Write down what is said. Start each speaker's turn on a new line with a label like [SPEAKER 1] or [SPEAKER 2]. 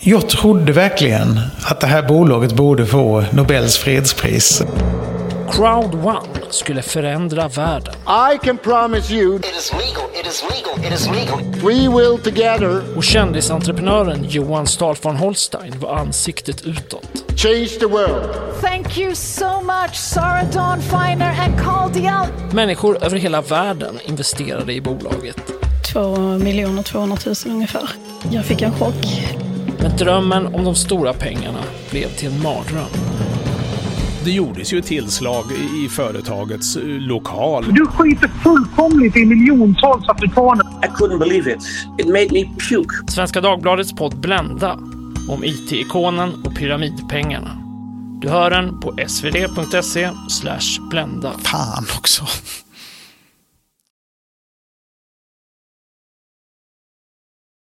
[SPEAKER 1] Jag trodde verkligen att det här bolaget borde få Nobels fredspris.
[SPEAKER 2] Crowd One skulle förändra världen.
[SPEAKER 3] I can promise you
[SPEAKER 4] It is legal. It is legal. It is legal.
[SPEAKER 3] we will together
[SPEAKER 2] Och kändisentreprenören Johan Stahl von Holstein var ansiktet utåt.
[SPEAKER 3] change the world.
[SPEAKER 5] Thank you so much, Sarah Dawn Finer and Carl Dial.
[SPEAKER 2] Människor över hela världen investerade i bolaget.
[SPEAKER 6] 2 miljoner 200 000 ungefär. Jag fick en chock.
[SPEAKER 2] Men drömmen om de stora pengarna blev till en mardröm.
[SPEAKER 7] Det gjordes ju ett tillslag i- i företagets eh, lokal.
[SPEAKER 8] Du skiter fullkomligt i miljontals afrikaner.
[SPEAKER 9] I couldn't believe it. It made me puke.
[SPEAKER 2] Svenska Dagbladets podd Blända om IT-ikonen och pyramidpengarna. Du hör den på svd.se blända.
[SPEAKER 1] Fan också.